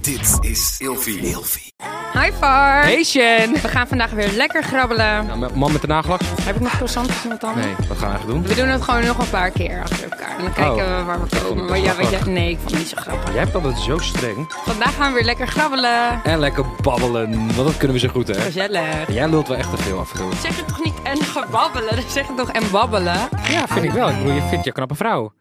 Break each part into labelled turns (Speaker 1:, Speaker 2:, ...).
Speaker 1: Dit is Ilfie.
Speaker 2: Hi Far.
Speaker 3: Hey Shen!
Speaker 2: We gaan vandaag weer lekker grabbelen.
Speaker 3: Nou, m- man met de nagelak?
Speaker 2: Heb ik nog croissantjes in mijn tanden?
Speaker 3: Nee, wat gaan we eigenlijk doen?
Speaker 2: We doen het gewoon nog een paar keer achter elkaar. En dan kijken
Speaker 3: Oh.
Speaker 2: we waar we
Speaker 3: vond
Speaker 2: komen.
Speaker 3: het
Speaker 2: Maar ja,
Speaker 3: wel
Speaker 2: weet je,
Speaker 3: grappig.
Speaker 2: nee, ik vond het niet zo grappig.
Speaker 3: Jij hebt altijd zo streng.
Speaker 2: Vandaag gaan we weer lekker grabbelen.
Speaker 3: En lekker babbelen, want dat kunnen we zo goed hè.
Speaker 2: Gezellig.
Speaker 3: Jij lult wel echt te veel af en toe.
Speaker 2: Zeg het toch niet en gebabbelen? Zeg het toch en babbelen?
Speaker 3: Ja, vind ik wel. Ik bedoel, je vindt je knappe vrouw.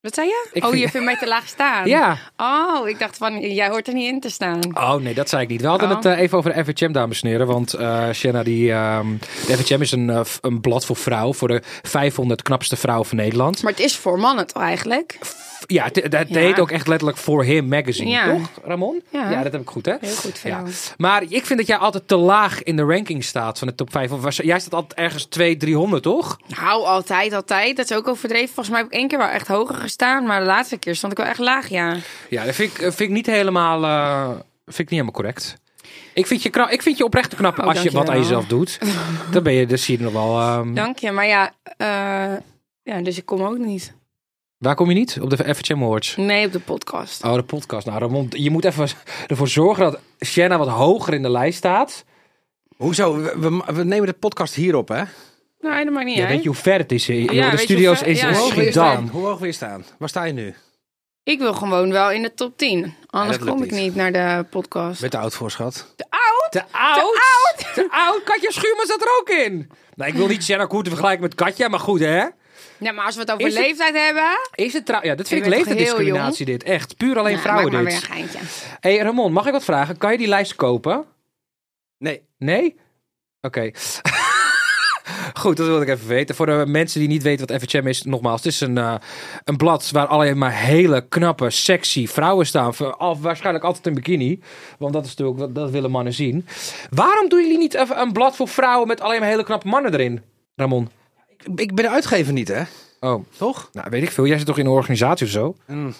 Speaker 2: Wat zei je?
Speaker 3: Ik
Speaker 2: oh,
Speaker 3: vind-
Speaker 2: je vindt mij te laag staan.
Speaker 3: Ja.
Speaker 2: Oh, ik dacht van, jij hoort er niet in te staan.
Speaker 3: Oh nee, dat zei ik niet. We hadden
Speaker 2: Oh.
Speaker 3: het eh, even over de FHM, dames en heren. Want eh Shanna, die, ehm, de FHM is een, eh, f- een blad voor vrouwen. Voor de 500 knapste vrouwen van Nederland.
Speaker 2: Maar het is voor mannen toch eigenlijk?
Speaker 3: Ja, het, het- het
Speaker 2: Ja.
Speaker 3: heet ook echt letterlijk For Him Magazine,
Speaker 2: Ja.
Speaker 3: toch Ramon?
Speaker 2: Ja.
Speaker 3: dat heb ik goed hè?
Speaker 2: Heel goed voor jou.
Speaker 3: Maar ik vind dat jij altijd te laag in de ranking staat van de top 5. Of was- jij staat altijd ergens 2, 300, toch?
Speaker 2: Nou, altijd, altijd. Dat is ook overdreven. Volgens mij heb ik één keer wel echt hoger gestaan. Maar de laatste keer stond ik wel echt laag, ja.
Speaker 3: Ja, dat vind ik, eh, vind ik niet helemaal, eh, vind ik niet helemaal correct. Ik vind je, kna- ik vind je oprecht knap
Speaker 2: Oh,
Speaker 3: als je wat aan
Speaker 2: dankjewel.
Speaker 3: jezelf doet. Dan ben je, dus zie je nog wel. ehm,
Speaker 2: Dank je. Maar ja, eh, ja, dus ik kom ook niet.
Speaker 3: Waar kom je niet? Op de FHM Awards.
Speaker 2: Nee, op de podcast.
Speaker 3: Oh, de podcast. Nou, Ramon, je moet even ervoor zorgen dat Shanna wat hoger in de lijst staat.
Speaker 1: Hoezo? We, we- we nemen de podcast hierop, hè?
Speaker 2: Nee, Nou, dat maakt niet
Speaker 3: Ja,
Speaker 2: uit.
Speaker 3: weet je hoe ver het is? eh, joh,
Speaker 2: weet je
Speaker 3: de
Speaker 2: hoe
Speaker 3: studio's
Speaker 2: ver-
Speaker 3: is
Speaker 2: ja,
Speaker 3: in
Speaker 2: ik
Speaker 1: Hoe hoog, wil je
Speaker 3: Schiedam.
Speaker 1: staan? Hoe hoog wil je staan? Waar sta je nu?
Speaker 2: Ik wil gewoon wel in de top 10. Anders
Speaker 1: lukt
Speaker 2: kom ik
Speaker 1: niet.
Speaker 2: niet naar de podcast.
Speaker 1: Met de oud voor, schat.
Speaker 2: Te oud?
Speaker 3: Te oud!
Speaker 2: Te oud!
Speaker 3: Te oud! Katja Schuurman zat er ook in! Nou, ik wil niet Shanna Koer te vergelijken met Katja, maar goed hè?
Speaker 2: Ja, maar als we het over
Speaker 3: Is het-
Speaker 2: leeftijd hebben...
Speaker 3: Is het trouw... Ja, dit vind
Speaker 2: Je
Speaker 3: ik
Speaker 2: bent toch heel
Speaker 3: leeftijdsdiscriminatie dit. Echt, puur alleen
Speaker 2: Nou,
Speaker 3: vrouwen
Speaker 2: maak maar
Speaker 3: dit.
Speaker 2: weer een geintje.
Speaker 3: Hé hey, Ramon, mag ik wat vragen? Kan je die lijst kopen?
Speaker 1: Nee.
Speaker 3: Nee? Oké. Goed, dat wilde ik even weten. Voor de mensen die niet weten wat FHM is, nogmaals, het is een, eh, een blad waar alleen maar hele knappe, sexy vrouwen staan. Voor- al- waarschijnlijk altijd in bikini, want dat is natuurlijk wat dat willen mannen zien. Waarom doen jullie niet even een blad voor vrouwen met alleen maar hele knappe mannen erin, Ramon?
Speaker 1: Ik, ik ben de uitgever niet, hè?
Speaker 3: Oh,
Speaker 1: Toch?
Speaker 3: nou weet ik veel. Jij zit toch in een organisatie of zo?
Speaker 1: Mm.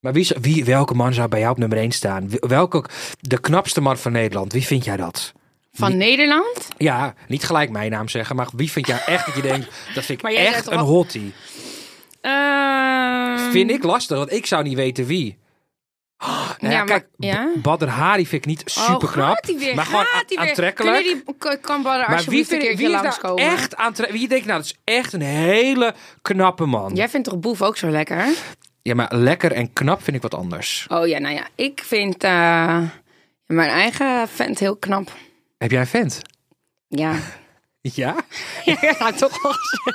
Speaker 3: Maar wie, zou- wie, welke man zou bij jou op nummer 1 staan? Wie- Welke, de knapste man van Nederland, wie vind jij dat?
Speaker 2: Van Nederland?
Speaker 3: Ja, niet gelijk mijn naam zeggen, maar wie vind jij echt dat je denkt, dat vind ik
Speaker 2: Maar jij
Speaker 3: echt
Speaker 2: zegt toch
Speaker 3: een
Speaker 2: al-
Speaker 3: hottie?
Speaker 2: Ehm,
Speaker 3: Vind ik lastig, want ik zou niet weten wie. Oh, nou
Speaker 2: Ja,
Speaker 3: ja,
Speaker 2: maar-
Speaker 3: kijk,
Speaker 2: ja?
Speaker 3: B- Badr Hari vind ik niet super
Speaker 2: Oh,
Speaker 3: knap,
Speaker 2: gaat die weer,
Speaker 3: maar gewoon
Speaker 2: gaat die weer.
Speaker 3: aantrekkelijk.
Speaker 2: Kunnen die k- kan Badr
Speaker 3: maar wie,
Speaker 2: alsjeblieft een
Speaker 3: vind,
Speaker 2: keertje
Speaker 3: wie is nou
Speaker 2: langskomen?
Speaker 3: echt aantrekkelijk? Wie denkt nou, dat is echt een hele knappe man.
Speaker 2: Jij vindt toch Boef ook zo lekker?
Speaker 3: Ja, maar lekker en knap vind ik wat anders.
Speaker 2: Oh ja, nou ja. Ik vind eh, mijn eigen vent heel knap.
Speaker 3: Heb jij een vent?
Speaker 2: Ja.
Speaker 3: Ja?
Speaker 2: ja, toch wel.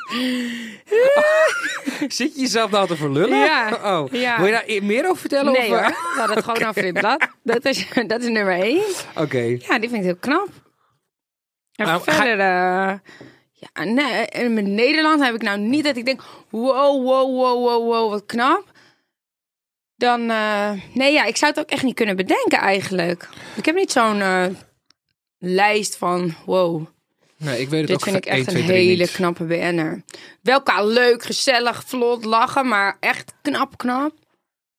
Speaker 3: Zit je jezelf nou te verlullen?
Speaker 2: Ja,
Speaker 3: Oh.
Speaker 2: ja.
Speaker 3: Wil je daar i- meer over vertellen?
Speaker 2: Nee
Speaker 3: of, eh?
Speaker 2: hoor, we hadden het gewoon aan Flipblad. Dat is, dat is nummer één.
Speaker 3: Oké.
Speaker 2: Ja, die vind ik heel knap. En
Speaker 3: Nou, ga-
Speaker 2: verder... eh, ja, nee, en met Nederland heb ik nou niet dat ik denk... Wow, wow, wow, wow, wow, wat knap. Dan... eh, nee, ja, ik zou het ook echt niet kunnen bedenken eigenlijk. Ik heb niet zo'n eh, lijst van... Wow,
Speaker 3: Nee, ik weet het
Speaker 2: dit
Speaker 3: ook
Speaker 2: vind ik
Speaker 3: van
Speaker 2: echt
Speaker 3: 1, 2,
Speaker 2: een
Speaker 3: 3
Speaker 2: hele
Speaker 3: niet.
Speaker 2: knappe BN'er. Wel qua leuk, gezellig, vlot, lachen, maar echt knap, knap.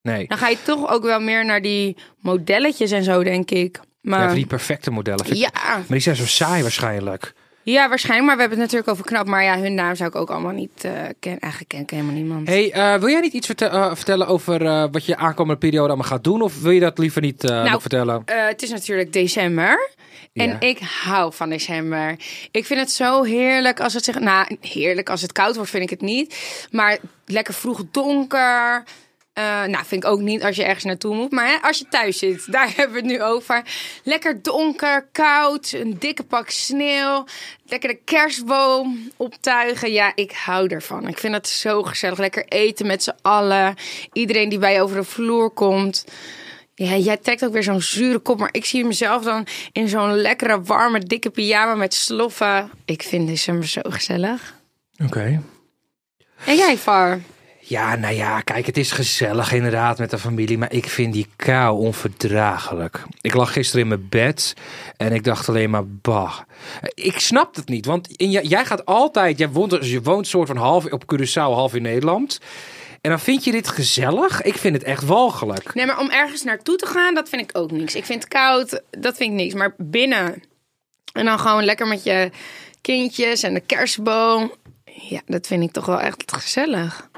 Speaker 3: Nee.
Speaker 2: Dan ga je toch ook wel meer naar die modelletjes en zo, denk ik. Maar,
Speaker 3: Ja, van die perfecte modellen. vind ik-
Speaker 2: ja.
Speaker 3: Maar die zijn zo saai waarschijnlijk.
Speaker 2: Ja, waarschijnlijk. Maar we hebben het natuurlijk over knap. Maar ja, hun naam zou ik ook allemaal niet eh, kennen. Eigenlijk ken ik helemaal niemand.
Speaker 3: hey, eh, wil jij niet iets verte- eh, vertellen over eh, wat je aankomende periode allemaal gaat doen? Of wil je dat liever niet eh, nog vertellen?
Speaker 2: eh, het is natuurlijk december. En
Speaker 3: Ja.
Speaker 2: ik hou van december. Ik vind het zo heerlijk als het zich... Nou, heerlijk als het koud wordt vind ik het niet. Maar lekker vroeg donker. Eh, nou, vind ik ook niet als je ergens naartoe moet. Maar hè, als je thuis zit, daar hebben we het nu over. Lekker donker, koud, een dikke pak sneeuw. Lekker de kerstboom optuigen. Ja, ik hou ervan. Ik vind dat zo gezellig. Lekker eten met z'n allen. Iedereen die bij je over de vloer komt. Ja, jij trekt ook weer zo'n zure kop, maar ik zie mezelf dan in zo'n lekkere, warme, dikke pyjama met sloffen. Ik vind december zo gezellig.
Speaker 3: Oké.
Speaker 2: En jij, Far?
Speaker 3: Ja, nou ja, kijk, het is gezellig inderdaad met de familie, maar ik vind die kou onverdraaglijk. Ik lag gisteren in mijn bed en ik dacht alleen maar, bah. Ik snap het niet, want in, jij- jij gaat altijd, jij woont, dus je woont soort van half op Curaçao, half in Nederland. En dan vind je dit gezellig? Ik vind het echt walgelijk.
Speaker 2: Nee, maar om ergens naartoe te gaan, dat vind ik ook niks. Ik vind het koud, dat vind ik niks. Maar binnen en dan gewoon lekker met je kindjes en de kerstboom. Ja, dat vind ik toch wel echt gezellig.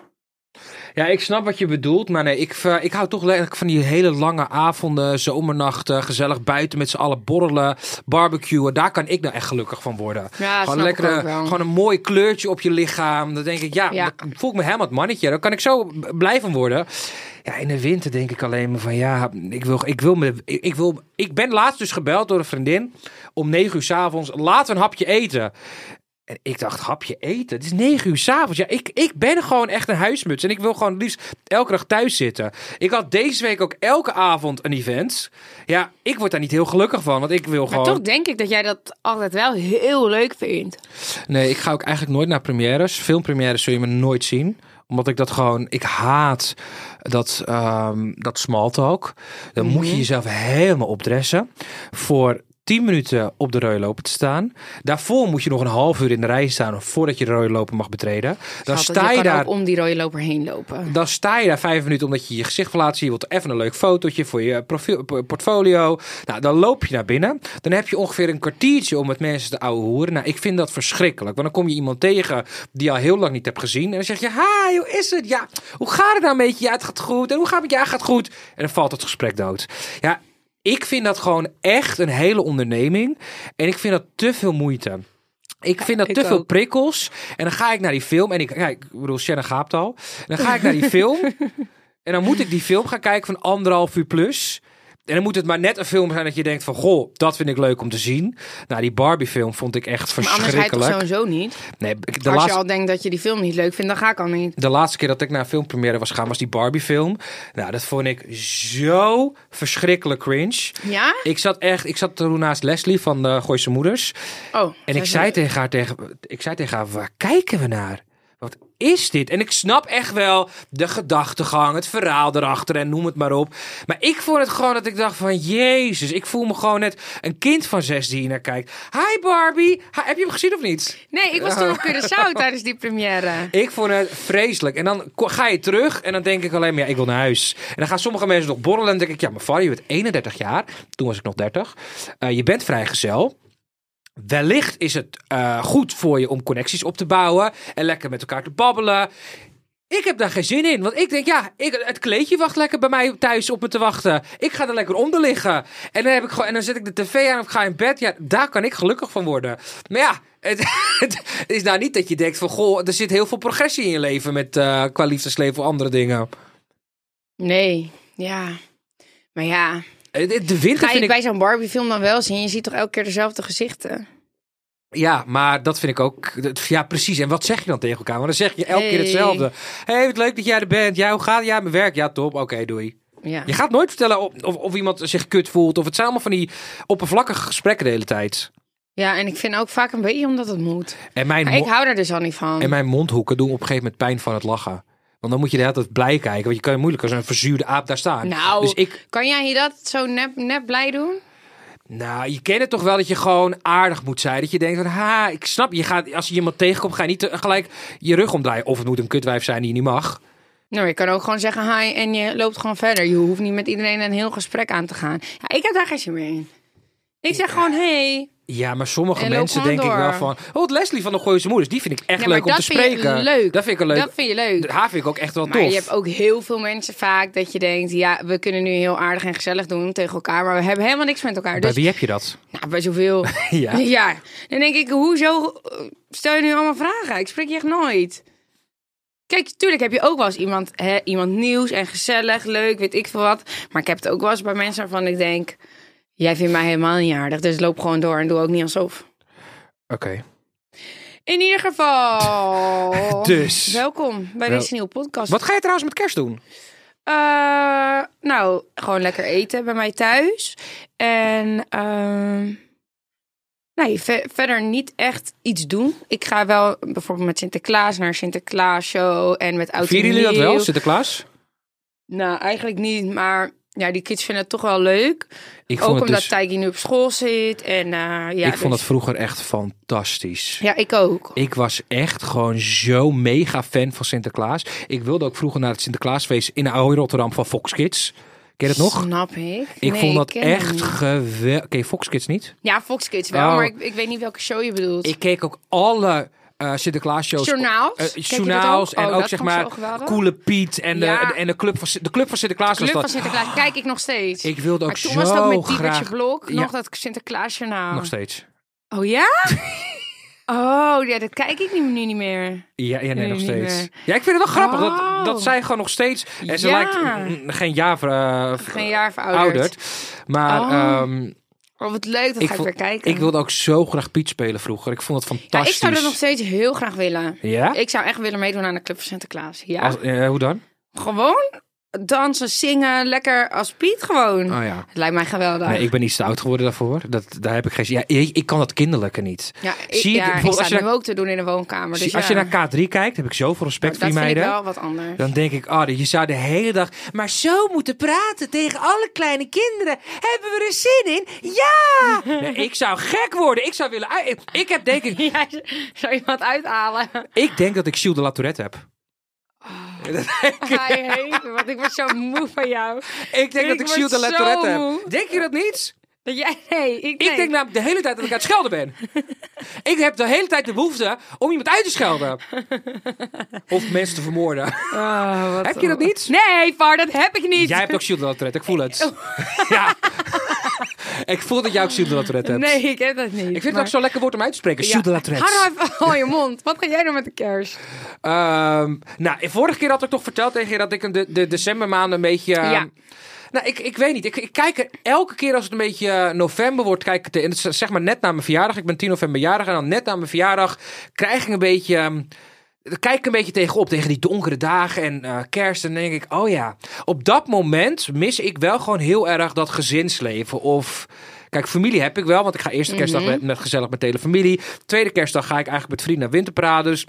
Speaker 3: Ja, ik snap wat je bedoelt, maar nee, ik, eh, ik hou toch lekker van die hele lange avonden, zomernachten, gezellig buiten met z'n allen borrelen, barbecuen. Daar kan ik nou echt gelukkig van worden.
Speaker 2: Ja, snap
Speaker 3: gewoon,
Speaker 2: ik
Speaker 3: lekkere-
Speaker 2: ook wel.
Speaker 3: gewoon een mooi kleurtje op je lichaam. Dan denk ik, ja,
Speaker 2: Ja.
Speaker 3: dan voel ik me helemaal het mannetje. Dan kan ik zo b- blij van worden. Ja, in de winter denk ik alleen maar van, ja, ik wil, ik wil me, ik, ik wil, ik ben laatst dus gebeld door een vriendin om negen uur s'avonds, laten we een hapje eten. En ik dacht, hapje eten? Het is negen uur s'avonds. Ja, ik, ik ben gewoon echt een huismuts. En ik wil gewoon het liefst elke dag thuis zitten. Ik had deze week ook elke avond een event. Ja, ik word daar niet heel gelukkig van. Want ik wil
Speaker 2: Maar
Speaker 3: gewoon...
Speaker 2: toch denk ik dat jij dat altijd wel heel leuk vindt.
Speaker 3: Nee, ik ga ook eigenlijk nooit naar premières. Filmpremières zul je me nooit zien omdat ik dat gewoon, ik haat dat, ehm dat smalltalk. Dan moet
Speaker 2: Mhm.
Speaker 3: je jezelf helemaal opdressen. Voor 10 minuten op de rode loper te staan. Daarvoor moet je nog een half uur in de rij staan voordat je de rode loper mag betreden. Dan
Speaker 2: Schat,
Speaker 3: sta je,
Speaker 2: kan
Speaker 3: daar
Speaker 2: ook om die rode loper heen lopen.
Speaker 3: dan sta je daar vijf minuten omdat je je gezicht wil laten zien. Je wilt even een leuk fotootje voor je profiel, p- portfolio. Nou, dan loop je naar binnen. Dan heb je ongeveer een kwartiertje om met mensen te ouwehoeren. Nou, ik vind dat verschrikkelijk. Want dan kom je iemand tegen die je al heel lang niet hebt gezien. En dan zeg je, hi, hoe is het? Ja, hoe gaat het nou met je? Ja, het gaat goed. En hoe gaat het met je? Ja, het gaat goed. En dan valt het gesprek dood. Ja, ik vind dat gewoon echt een hele onderneming. En ik vind dat te veel moeite. Ik vind dat
Speaker 2: ik
Speaker 3: te veel
Speaker 2: ook.
Speaker 3: prikkels. En dan ga ik naar die film. En ik, kijk, ik bedoel, Shannon gaapt al. En dan ga ik naar die film. En dan moet ik die film gaan kijken van anderhalf uur plus. En dan moet het maar net een film zijn dat je denkt van... Goh, dat vind ik leuk om te zien. Nou, die Barbie film vond ik
Speaker 2: Maar
Speaker 3: echt
Speaker 2: anders ga je
Speaker 3: verschrikkelijk.
Speaker 2: toch sowieso niet.
Speaker 3: Nee, ik- de
Speaker 2: Als
Speaker 3: laatste
Speaker 2: je al denkt dat je die film niet leuk vindt, dan ga ik al niet.
Speaker 3: de laatste keer dat ik naar een filmpremière was gaan was die Barbie film. Nou, dat vond ik zo verschrikkelijk cringe.
Speaker 2: Ja?
Speaker 3: Ik zat echt, ik zat toen naast Leslie van de Gooise Moeders.
Speaker 2: Oh.
Speaker 3: En ik zei tegen haar, tegen, ik zei tegen haar, waar kijken we naar? Wat is dit? En ik snap echt wel de gedachtegang, het verhaal erachter en noem het maar op. Maar ik vond het gewoon dat ik dacht van, jezus, ik voel me gewoon net een kind van zes die hier naar kijkt. Hi Barbie, Ha- heb je hem gezien of niet?
Speaker 2: Nee, ik was toen
Speaker 3: Oh.
Speaker 2: op Curaçao tijdens die première.
Speaker 3: Ik vond het vreselijk. En dan ko- ga je terug en dan denk ik alleen maar, ja, ik wil naar huis. En dan gaan sommige mensen nog borrelen en dan denk ik, ja, maar Fanny, je bent 31 jaar. Toen was ik nog 30. Eh, je bent vrijgezel. Wellicht is het eh, goed voor je om connecties op te bouwen en lekker met elkaar te babbelen. Ik heb daar geen zin in, want ik denk, ja, ik, het kleedje wacht lekker bij mij thuis op me te wachten. Ik ga er lekker onder liggen. En dan, heb ik gewoon, en dan zet ik de tv aan of ga in bed. Ja, daar kan ik gelukkig van worden. Maar ja, het, het is nou niet dat je denkt van, goh, er zit heel veel progressie in je leven met, eh, qua liefdesleven of andere dingen.
Speaker 2: Nee, ja. Maar ja,
Speaker 3: Eh, De de winter
Speaker 2: ga
Speaker 3: vind
Speaker 2: je
Speaker 3: ik...
Speaker 2: bij zo'n Barbie-film dan wel zien? Je ziet toch elke keer dezelfde gezichten?
Speaker 3: Ja, maar dat vind ik ook. dat- Ja, precies. En wat zeg je dan tegen elkaar? Want dan zeg je elke keer
Speaker 2: Hey.
Speaker 3: hetzelfde. Hé, hey, wat leuk dat jij er bent. Ja, hoe gaat het? Ja, mijn werk. Ja, top. Oké, doei.
Speaker 2: Ja.
Speaker 3: Je gaat nooit vertellen of, of, of iemand zich kut voelt. Of het zijn allemaal van die oppervlakkige gesprekken de hele tijd.
Speaker 2: ja, en ik vind ook vaak een beetje omdat het moet.
Speaker 3: En mijn,
Speaker 2: Maar ik
Speaker 3: mo-
Speaker 2: hou daar dus al niet van.
Speaker 3: en mijn mondhoeken doen op een gegeven moment pijn van het lachen. Want dan moet je de hele tijd blij kijken. Want je kan moeilijk als een verzuurde aap daar staan.
Speaker 2: Nou,
Speaker 3: Dus ik,
Speaker 2: kan jij hier dat zo nep, nep blij doen?
Speaker 3: Nou, je kent het toch wel dat je gewoon aardig moet zijn. Dat je denkt van, ha, ik snap. Je gaat, als je iemand tegenkomt, ga je niet eh, gelijk je rug omdraaien. Of het moet een kutwijf zijn die je niet mag.
Speaker 2: Nou, je kan ook gewoon zeggen hi en je loopt gewoon verder. Je hoeft niet met iedereen een heel gesprek aan te gaan. Ja, ik heb daar geen zin meer in. Ik zeg gewoon hey.
Speaker 3: Ja, maar sommige
Speaker 2: En loop
Speaker 3: mensen
Speaker 2: gewoon
Speaker 3: denk ik wel
Speaker 2: door.
Speaker 3: van... Oh, het Leslie van de Gooise Moeders, die vind ik echt
Speaker 2: Ja, maar
Speaker 3: leuk om
Speaker 2: dat
Speaker 3: te
Speaker 2: vind je
Speaker 3: spreken.
Speaker 2: leuk.
Speaker 3: Dat vind ik een leuk.
Speaker 2: Dat vind je leuk.
Speaker 3: Haar vind ik ook echt wel
Speaker 2: Maar
Speaker 3: tof.
Speaker 2: je hebt ook heel veel mensen vaak dat je denkt... ja, we kunnen nu heel aardig en gezellig doen tegen elkaar... maar we hebben helemaal niks met elkaar.
Speaker 3: Bij
Speaker 2: Dus
Speaker 3: wie heb je dat?
Speaker 2: nou, bij zoveel.
Speaker 3: Ja.
Speaker 2: Dan denk ik, hoezo eh, stel je nu allemaal vragen? Ik spreek je echt nooit. Kijk, tuurlijk heb je ook wel eens iemand, hè, iemand nieuws en gezellig, leuk, weet ik veel wat. Maar ik heb het ook wel eens bij mensen waarvan ik denk... jij vindt mij helemaal niet aardig, dus loop gewoon door en doe ook niet alsof.
Speaker 3: Oké.
Speaker 2: In ieder geval...
Speaker 3: Dus.
Speaker 2: Welkom bij
Speaker 3: Wel-
Speaker 2: deze nieuwe podcast.
Speaker 3: Wat ga je trouwens met kerst doen?
Speaker 2: Eh, nou, gewoon lekker eten bij mij thuis. En ehm, nee, ve- verder niet echt iets doen. Ik ga wel bijvoorbeeld met Sinterklaas naar Sinterklaas show en met oud en
Speaker 3: Vieren jullie dat wel,
Speaker 2: nieuw.
Speaker 3: Sinterklaas?
Speaker 2: Nou, eigenlijk niet, maar ja, die kids vinden het toch wel leuk.
Speaker 3: Ik
Speaker 2: Ook
Speaker 3: vond het
Speaker 2: omdat
Speaker 3: dus...
Speaker 2: Tijgi nu op school zit en eh, ja.
Speaker 3: ik vond
Speaker 2: dus-
Speaker 3: het vroeger echt fantastisch.
Speaker 2: Ja, ik ook.
Speaker 3: Ik was echt gewoon zo mega fan van Sinterklaas. Ik wilde ook vroeger naar het Sinterklaasfeest in de Oude Rotterdam van Fox Kids. Ken je dat nog?
Speaker 2: Snap ik.
Speaker 3: Ik
Speaker 2: Nee,
Speaker 3: vond dat
Speaker 2: ken hem
Speaker 3: echt
Speaker 2: niet.
Speaker 3: geweldig. Ken je Fox Kids niet?
Speaker 2: Ja, Fox Kids wel,
Speaker 3: Oh.
Speaker 2: maar ik, ik weet niet welke show je bedoelt.
Speaker 3: Ik keek ook alle eh Sinterklaas-shows.
Speaker 2: Journaals?
Speaker 3: eh,
Speaker 2: Keek je dat
Speaker 3: journaals
Speaker 2: ook?
Speaker 3: en
Speaker 2: Oh,
Speaker 3: ook
Speaker 2: dat
Speaker 3: zeg
Speaker 2: vond ik
Speaker 3: maar
Speaker 2: zo geweldig.
Speaker 3: Coole Piet en,
Speaker 2: Ja.
Speaker 3: de, en de, club van, Sin- de club van Sinterklaas
Speaker 2: Club van
Speaker 3: was dat.
Speaker 2: Sinterklaas kijk ik nog steeds.
Speaker 3: Ik wilde ook
Speaker 2: maar toen
Speaker 3: zo
Speaker 2: was het ook met Diebertje
Speaker 3: graag...
Speaker 2: Blok
Speaker 3: Ja.
Speaker 2: nog dat Sinterklaasjournaal.
Speaker 3: Nog steeds.
Speaker 2: Oh ja? oh, ja, dat kijk ik nu, nu niet meer.
Speaker 3: Ja, ja nee,
Speaker 2: Nee,
Speaker 3: nog
Speaker 2: niet
Speaker 3: steeds.
Speaker 2: meer.
Speaker 3: Ja, ik vind het wel grappig
Speaker 2: Oh.
Speaker 3: dat, dat zij gewoon nog steeds... En ze
Speaker 2: Ja.
Speaker 3: lijkt mm, geen jaar eh,
Speaker 2: Geen jaar verouderd.
Speaker 3: verouderd. Maar
Speaker 2: Oh.
Speaker 3: ehm,
Speaker 2: Oh, wat leuk, dat
Speaker 3: Ik
Speaker 2: ga ik
Speaker 3: vo-
Speaker 2: weer kijken.
Speaker 3: ik wilde ook zo graag Piet spelen vroeger. Ik vond het
Speaker 2: ja,
Speaker 3: fantastisch.
Speaker 2: ik zou dat nog steeds heel graag willen.
Speaker 3: Ja?
Speaker 2: Ik zou echt willen meedoen aan de Club van Sinterklaas. Ja.
Speaker 3: Als- eh, hoe dan?
Speaker 2: Gewoon dansen, zingen, lekker als Piet gewoon.
Speaker 1: Oh ja.
Speaker 2: Het lijkt mij geweldig.
Speaker 3: Ah. Nee, ik ben iets te oud geworden daarvoor. Dat, daar heb ik geen zin. Ja, ik, ik kan dat kinderlijke niet.
Speaker 2: ja, ik,
Speaker 3: Zie je,
Speaker 2: ja, ik
Speaker 3: bijvoorbeeld
Speaker 2: sta
Speaker 3: als je
Speaker 2: nu ook te doen in de woonkamer. Dus
Speaker 3: Zie- als je
Speaker 2: ja.
Speaker 3: naar K3 kijkt, heb ik zoveel respect
Speaker 2: dat
Speaker 3: voor die
Speaker 2: vind ik
Speaker 3: meiden.
Speaker 2: wel wat anders.
Speaker 3: Dan denk ik, ah, je zou de hele dag maar zo moeten praten tegen alle kleine kinderen. Hebben we er zin in? Ja! Nee, ik zou gek worden. Ik zou willen... uit- Ik, ik heb denk ik...
Speaker 2: Ja, zou je wat uithalen?
Speaker 3: Ik denk dat ik Gilles de La Tourette heb.
Speaker 2: Ga je heen, want ik word zo moe van jou.
Speaker 3: Ik denk dat ik
Speaker 2: word
Speaker 3: Gilles de La
Speaker 2: zo
Speaker 3: Tourette
Speaker 2: moe.
Speaker 3: heb. Denk je dat niet?
Speaker 2: Dat jij, nee, ik, nou,
Speaker 3: Ik
Speaker 2: nee.
Speaker 3: denk namelijk de hele tijd dat ik aan het schelden ben. ik heb de hele tijd de behoefte om iemand uit te schelden. of mensen te vermoorden.
Speaker 2: Oh, wat-
Speaker 3: Heb je dat niet?
Speaker 2: Nee, Far, dat heb ik niet.
Speaker 3: Ah,
Speaker 2: Oh.
Speaker 3: Jij hebt ook Shield de Lotterijt, ik voel het. ja. ik voel dat jij ook Shield de Lotterijt hebt.
Speaker 2: Nee, ik heb dat niet.
Speaker 3: Ik vind het ook zo lekker woord om uit te spreken. Shield de Lotterijt.
Speaker 2: Ga nou even van je mond. Wat ga jij doen met de kerst?
Speaker 3: Ehm, nou, vorige keer had ik toch verteld tegen je dat ik een de, de decembermaanden een beetje... ehm,
Speaker 2: Ja.
Speaker 3: Nou, ik, ik weet niet. Ik, ik kijk er elke keer als het een beetje eh, november wordt, kijk ik er- en het is eh, zeg maar net na mijn verjaardag. Ik ben 10 november jarig en dan net na mijn verjaardag krijg ik een beetje... ehm, daar kijk ik een beetje tegenop, tegen die donkere dagen en eh, kerst. En dan denk ik, oh ja, op dat moment mis ik wel gewoon heel erg dat gezinsleven. Of, kijk, familie heb ik wel, want ik ga eerste kerstdag met, met- gezellig met de hele familie. Tweede kerstdag ga ik eigenlijk met vrienden naar Winterpraders.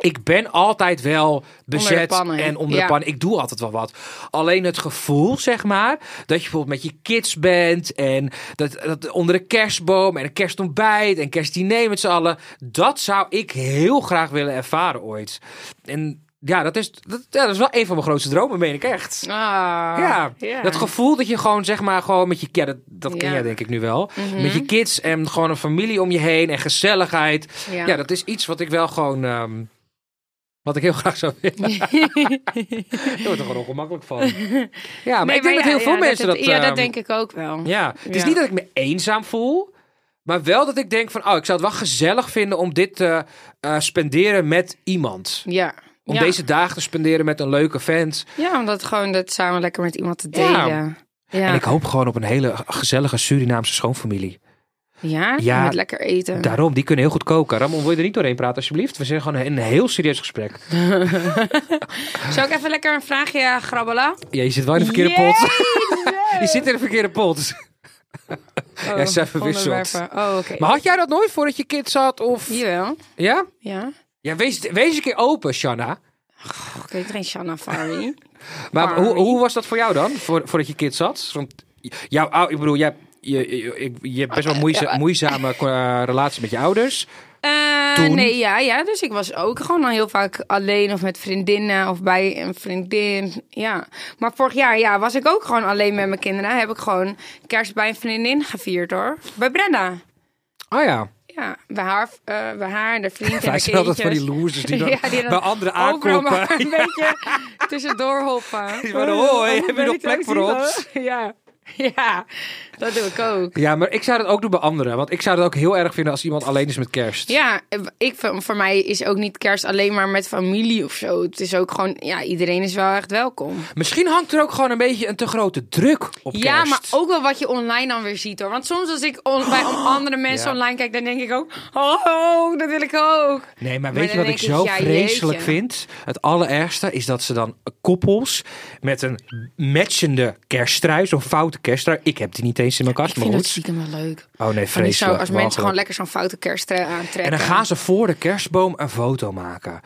Speaker 3: Ik ben altijd wel bezet
Speaker 2: pannen.
Speaker 3: en onder
Speaker 2: Ja.
Speaker 3: de pan. Ik doe altijd wel wat. Alleen het gevoel, zeg maar, dat je bijvoorbeeld met je kids bent en dat, dat onder de kerstboom en een kerstontbijt en kerstdiner met z'n allen. Dat zou ik heel graag willen ervaren ooit. En ja, dat is, dat, ja, dat is wel een van mijn grootste dromen, meen ik echt.
Speaker 2: Ah,
Speaker 3: Ja, dat gevoel dat je gewoon zeg maar gewoon met je... Ja, dat, dat ken
Speaker 2: Ja.
Speaker 3: jij denk ik nu wel.
Speaker 2: Mhm.
Speaker 3: Met je kids en gewoon een familie om je heen en gezelligheid. Ja,
Speaker 2: Ja.
Speaker 3: dat is iets wat ik wel gewoon... ehm, wat ik heel graag zou willen. Daar wordt er gewoon ongemakkelijk van. Ja, maar ik denk dat heel veel mensen dat...
Speaker 2: Ja, dat
Speaker 3: ehm,
Speaker 2: denk ik ook wel.
Speaker 3: ja, het is
Speaker 2: Ja.
Speaker 3: niet dat ik me eenzaam voel. Maar wel dat ik denk van... Oh, ik zou het wel gezellig vinden om dit te eh, spenderen met iemand.
Speaker 2: Ja.
Speaker 3: Om
Speaker 2: ja.
Speaker 3: deze dagen te spenderen met een leuke vent.
Speaker 2: Ja, omdat gewoon dat samen lekker met iemand te
Speaker 3: Ja.
Speaker 2: delen. Ja. Ja,
Speaker 3: En ik hoop gewoon op een hele gezellige Surinaamse schoonfamilie. Ja.
Speaker 2: met lekker eten.
Speaker 3: Daarom, die kunnen heel goed koken. Ramon, wil je er niet doorheen praten alsjeblieft? We zijn gewoon een heel serieus gesprek.
Speaker 2: Zal ik even lekker een vraagje grabbelen?
Speaker 3: Ja, je zit wel in de verkeerde pot. je zit in de verkeerde pot.
Speaker 2: Oh,
Speaker 3: Ja, ze even wisselt.
Speaker 2: onderwerpen. Oh, oké.
Speaker 3: Maar had jij dat nooit voordat je kind zat? Of...
Speaker 2: Jawel.
Speaker 3: Ja?
Speaker 2: Ja.
Speaker 3: Ja, wees, wees een keer open, Shanna.
Speaker 2: Och, Ik weet geen Shanna Fari.
Speaker 3: Maar
Speaker 2: Maar-
Speaker 3: hoe, hoe was dat voor jou dan, voor, voordat je kind zat? Want jouw, ou- ik bedoel, jij, je, je, ik- je hebt best wel moeiza- moeizame eh, relatie met je ouders.
Speaker 2: Eh,
Speaker 3: Toen?
Speaker 2: Nee, ja, ja. Dus ik was ook gewoon al heel vaak alleen of met vriendinnen of bij een vriendin. Ja. Maar vorig jaar ja, was ik ook gewoon alleen met mijn kinderen. Heb ik gewoon kerst bij een vriendin gevierd hoor. Bij Brenda.
Speaker 3: Oh ja.
Speaker 2: Ja, bij haar, eh, bij haar en de vriend en
Speaker 3: Wij
Speaker 2: de
Speaker 3: zijn altijd
Speaker 2: kindjes.
Speaker 3: van die losers die dan
Speaker 2: Ja, die dan
Speaker 3: bij anderen
Speaker 2: Overal
Speaker 3: aankloppen.
Speaker 2: maar een beetje tussendoor hoppen. Oh,
Speaker 3: Die waren, hoi, heb je nog
Speaker 2: Weet
Speaker 3: plek
Speaker 2: ik
Speaker 3: voor
Speaker 2: niet,
Speaker 3: ons?
Speaker 2: hoor. Ja. ja, dat doe ik ook.
Speaker 3: Ja, maar ik zou dat ook doen bij anderen. Want ik zou het ook heel erg vinden als iemand alleen is met kerst.
Speaker 2: Ja, eh, ik, vind- voor mij is ook niet kerst alleen maar met familie of zo. Het is ook gewoon, ja, iedereen is wel echt welkom.
Speaker 3: Misschien hangt er ook gewoon een beetje een te grote druk op kerst.
Speaker 2: Ja, maar ook wel wat je online dan weer ziet hoor. Want soms als ik on- bij om andere mensen
Speaker 3: Ja.
Speaker 2: online kijk, dan denk ik ook, oh, dat wil ik ook.
Speaker 3: Nee, maar weet
Speaker 2: Maar
Speaker 3: je
Speaker 2: dan
Speaker 3: wat ik
Speaker 2: denk
Speaker 3: zo
Speaker 2: ik, ja,
Speaker 3: vreselijk
Speaker 2: jeetje.
Speaker 3: vind? Het allerergste is dat ze dan koppels met een matchende kersttrui, zo'n foute kersttrui. Ik heb die niet eens in mijn
Speaker 2: Ik
Speaker 3: kast, maar
Speaker 2: vind het
Speaker 3: goed.
Speaker 2: stiekem wel leuk.
Speaker 3: Oh nee,
Speaker 2: Van die
Speaker 3: vreselijk.
Speaker 2: zo, als mensen
Speaker 3: walgelijk.
Speaker 2: gewoon lekker zo'n foute kerst eh, aantrekken.
Speaker 3: En dan gaan ze voor de kerstboom een foto maken.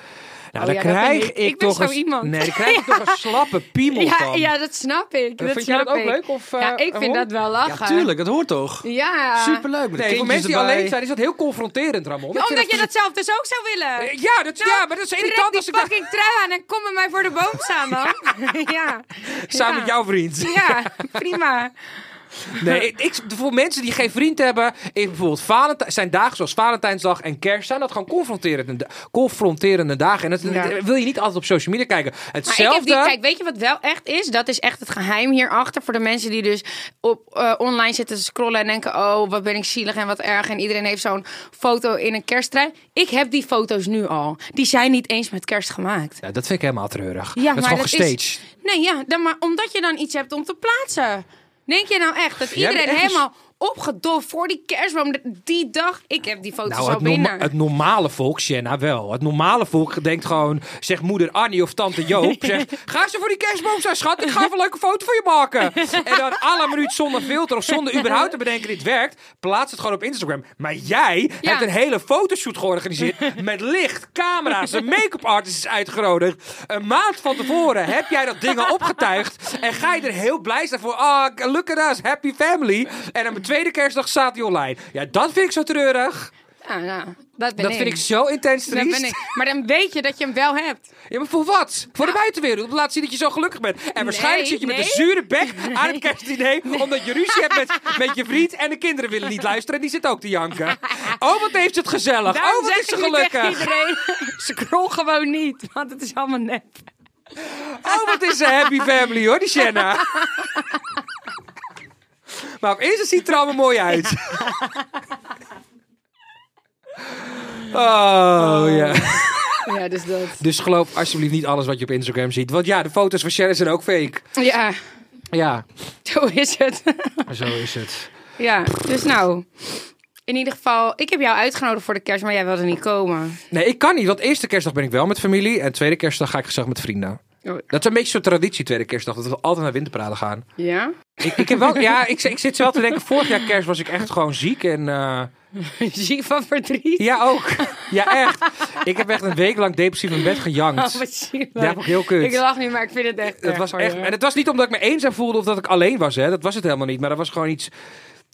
Speaker 3: Nou,
Speaker 2: Oh
Speaker 3: dan
Speaker 2: ja, dat
Speaker 3: krijg
Speaker 2: ben
Speaker 3: ik,
Speaker 2: ik. Ik ben
Speaker 3: toch
Speaker 2: zo
Speaker 3: een,
Speaker 2: iemand.
Speaker 3: Nee, dan krijg ik toch een slappe piemel
Speaker 2: ja,
Speaker 3: van.
Speaker 2: ja, dat snap ik. Dat
Speaker 3: Eh, vind jij
Speaker 2: snap
Speaker 3: dat ook
Speaker 2: ik.
Speaker 3: leuk, of, eh,
Speaker 2: ja, ik
Speaker 3: waarom?
Speaker 2: vind dat wel
Speaker 1: Ja,
Speaker 2: lachen.
Speaker 1: tuurlijk, dat hoort toch?
Speaker 2: Ja.
Speaker 1: Superleuk. Met de
Speaker 3: Nee, voor
Speaker 1: kindjes
Speaker 3: mensen die
Speaker 1: erbij.
Speaker 3: alleen zijn is dat heel confronterend, Ramon. Ik
Speaker 2: Ja,
Speaker 3: vind
Speaker 2: omdat je
Speaker 3: dat-
Speaker 2: dat zelf dus ook zou willen.
Speaker 3: Ja, dat, ja,
Speaker 2: Nou,
Speaker 3: maar dat is
Speaker 2: Trek
Speaker 3: irritant
Speaker 2: die
Speaker 3: als ik dat...
Speaker 2: fucking trui aan en kom met mij voor de boom staan dan. ja.
Speaker 3: Samen
Speaker 2: Ja.
Speaker 3: met jouw vriend.
Speaker 2: Ja, prima.
Speaker 3: Nee, ik, ik- voor mensen die geen vriend hebben, is bijvoorbeeld Valentijn, zijn dagen zoals Valentijnsdag en Kerst, zijn dat gewoon confronterende, da- confronterende dagen. En dat
Speaker 2: Ja.
Speaker 3: wil je niet altijd op social media kijken.
Speaker 2: Maar ik heb
Speaker 3: Hetzelfde.
Speaker 2: die, kijk, weet je wat wel echt is? Dat is echt het geheim hierachter voor de mensen die dus op eh, online zitten te scrollen en denken: oh, wat ben ik zielig en wat erg. En iedereen heeft zo'n foto in een kersttrui. Ik heb die foto's nu al. Die zijn niet eens met kerst gemaakt.
Speaker 3: Ja, dat vind ik helemaal treurig.
Speaker 2: Ja,
Speaker 3: dat is
Speaker 2: maar
Speaker 3: gewoon
Speaker 2: dat
Speaker 3: gestaged.
Speaker 2: is- Nee, ja, dan maar omdat je dan iets hebt om te plaatsen. Denk je nou echt dat
Speaker 3: Jij bent
Speaker 2: iedereen
Speaker 3: echt een-
Speaker 2: helemaal opgedoft voor die kerstboom de- die dag? Ik heb die foto's
Speaker 3: Nou,
Speaker 2: al
Speaker 3: het, norma-
Speaker 2: binnen.
Speaker 3: het normale volk, Jenna, wel. Het normale volk denkt gewoon, zegt moeder Annie of tante Joop, zegt, ga ze voor die kerstboom zijn, schat, ik ga even een leuke foto voor je maken. En dan à la minuut zonder filter of zonder überhaupt te bedenken dit werkt, plaats het gewoon op Instagram. Maar jij
Speaker 2: Ja.
Speaker 3: hebt een hele fotoshoot georganiseerd met licht, camera's, een make-up artist is uitgenodigd. Een maand van tevoren heb jij dat ding al opgetuigd en ga je er heel blij zijn voor, ah, look at us, happy family. En op de tweede kerstdag staat hij online. Ja, dat vind ik zo treurig.
Speaker 2: Ja, nou, dat ben
Speaker 3: Dat
Speaker 2: ik.
Speaker 3: vind ik zo intens
Speaker 2: Dat
Speaker 3: triest.
Speaker 2: ben ik. Maar dan weet je dat je hem wel hebt.
Speaker 3: Ja, maar voor wat? Voor de buitenwereld. Om te laten zien dat je zo gelukkig bent. En waarschijnlijk
Speaker 2: Nou. Nee,
Speaker 3: zit je met
Speaker 2: nee.
Speaker 3: een zure bek aan het kerstdiner. Omdat je ruzie hebt met, met je vriend. En de kinderen willen niet luisteren. En die zitten ook te janken. Oh, wat heeft ze het gezellig.
Speaker 2: Daarom
Speaker 3: oh, wat
Speaker 2: zeg
Speaker 3: is ze
Speaker 2: ik nu tegen
Speaker 3: gelukkig.
Speaker 2: iedereen, scroll gewoon niet, want het is allemaal nep.
Speaker 3: Oh, wat is ze happy family hoor, die Shanna. Maar op Insta ziet het er allemaal mooi uit. Oh, ja.
Speaker 2: Ja, dus dat.
Speaker 3: Dus geloof alsjeblieft niet alles wat je op Instagram ziet. Want ja, de foto's van Shanna zijn ook fake.
Speaker 2: Ja,
Speaker 3: Ja,
Speaker 2: zo is het.
Speaker 3: zo is het.
Speaker 2: Ja, dus nou. In ieder geval, ik heb jou uitgenodigd voor de kerst, maar jij wilde niet komen.
Speaker 3: Nee, ik kan niet. Want eerste kerstdag ben ik wel met familie. En tweede kerstdag ga ik gezellig met vrienden.
Speaker 2: Oh,
Speaker 3: Dat is een beetje zo'n traditie, tweede kerstdag. Dat we altijd naar winterpraden gaan.
Speaker 2: Ja?
Speaker 3: Ik, ik, heb wel, ja, ik, ik zit wel te denken, vorig jaar kerst was ik echt gewoon ziek. En eh,
Speaker 2: Ziek van verdriet.
Speaker 3: ja, ook. Ja, echt. Ik heb echt een week lang depressief in bed
Speaker 2: Oh,
Speaker 3: gejankt.
Speaker 2: wat zielig.
Speaker 3: Ja, vond ik heel kut.
Speaker 2: Ik lach niet, maar ik vind het echt. eh,
Speaker 3: Dat
Speaker 2: erg
Speaker 3: was
Speaker 2: voor
Speaker 3: echt,
Speaker 2: je.
Speaker 3: en het was niet omdat ik me eenzaam voelde of dat ik alleen was. Hè. Dat was het helemaal niet. Maar dat was gewoon iets...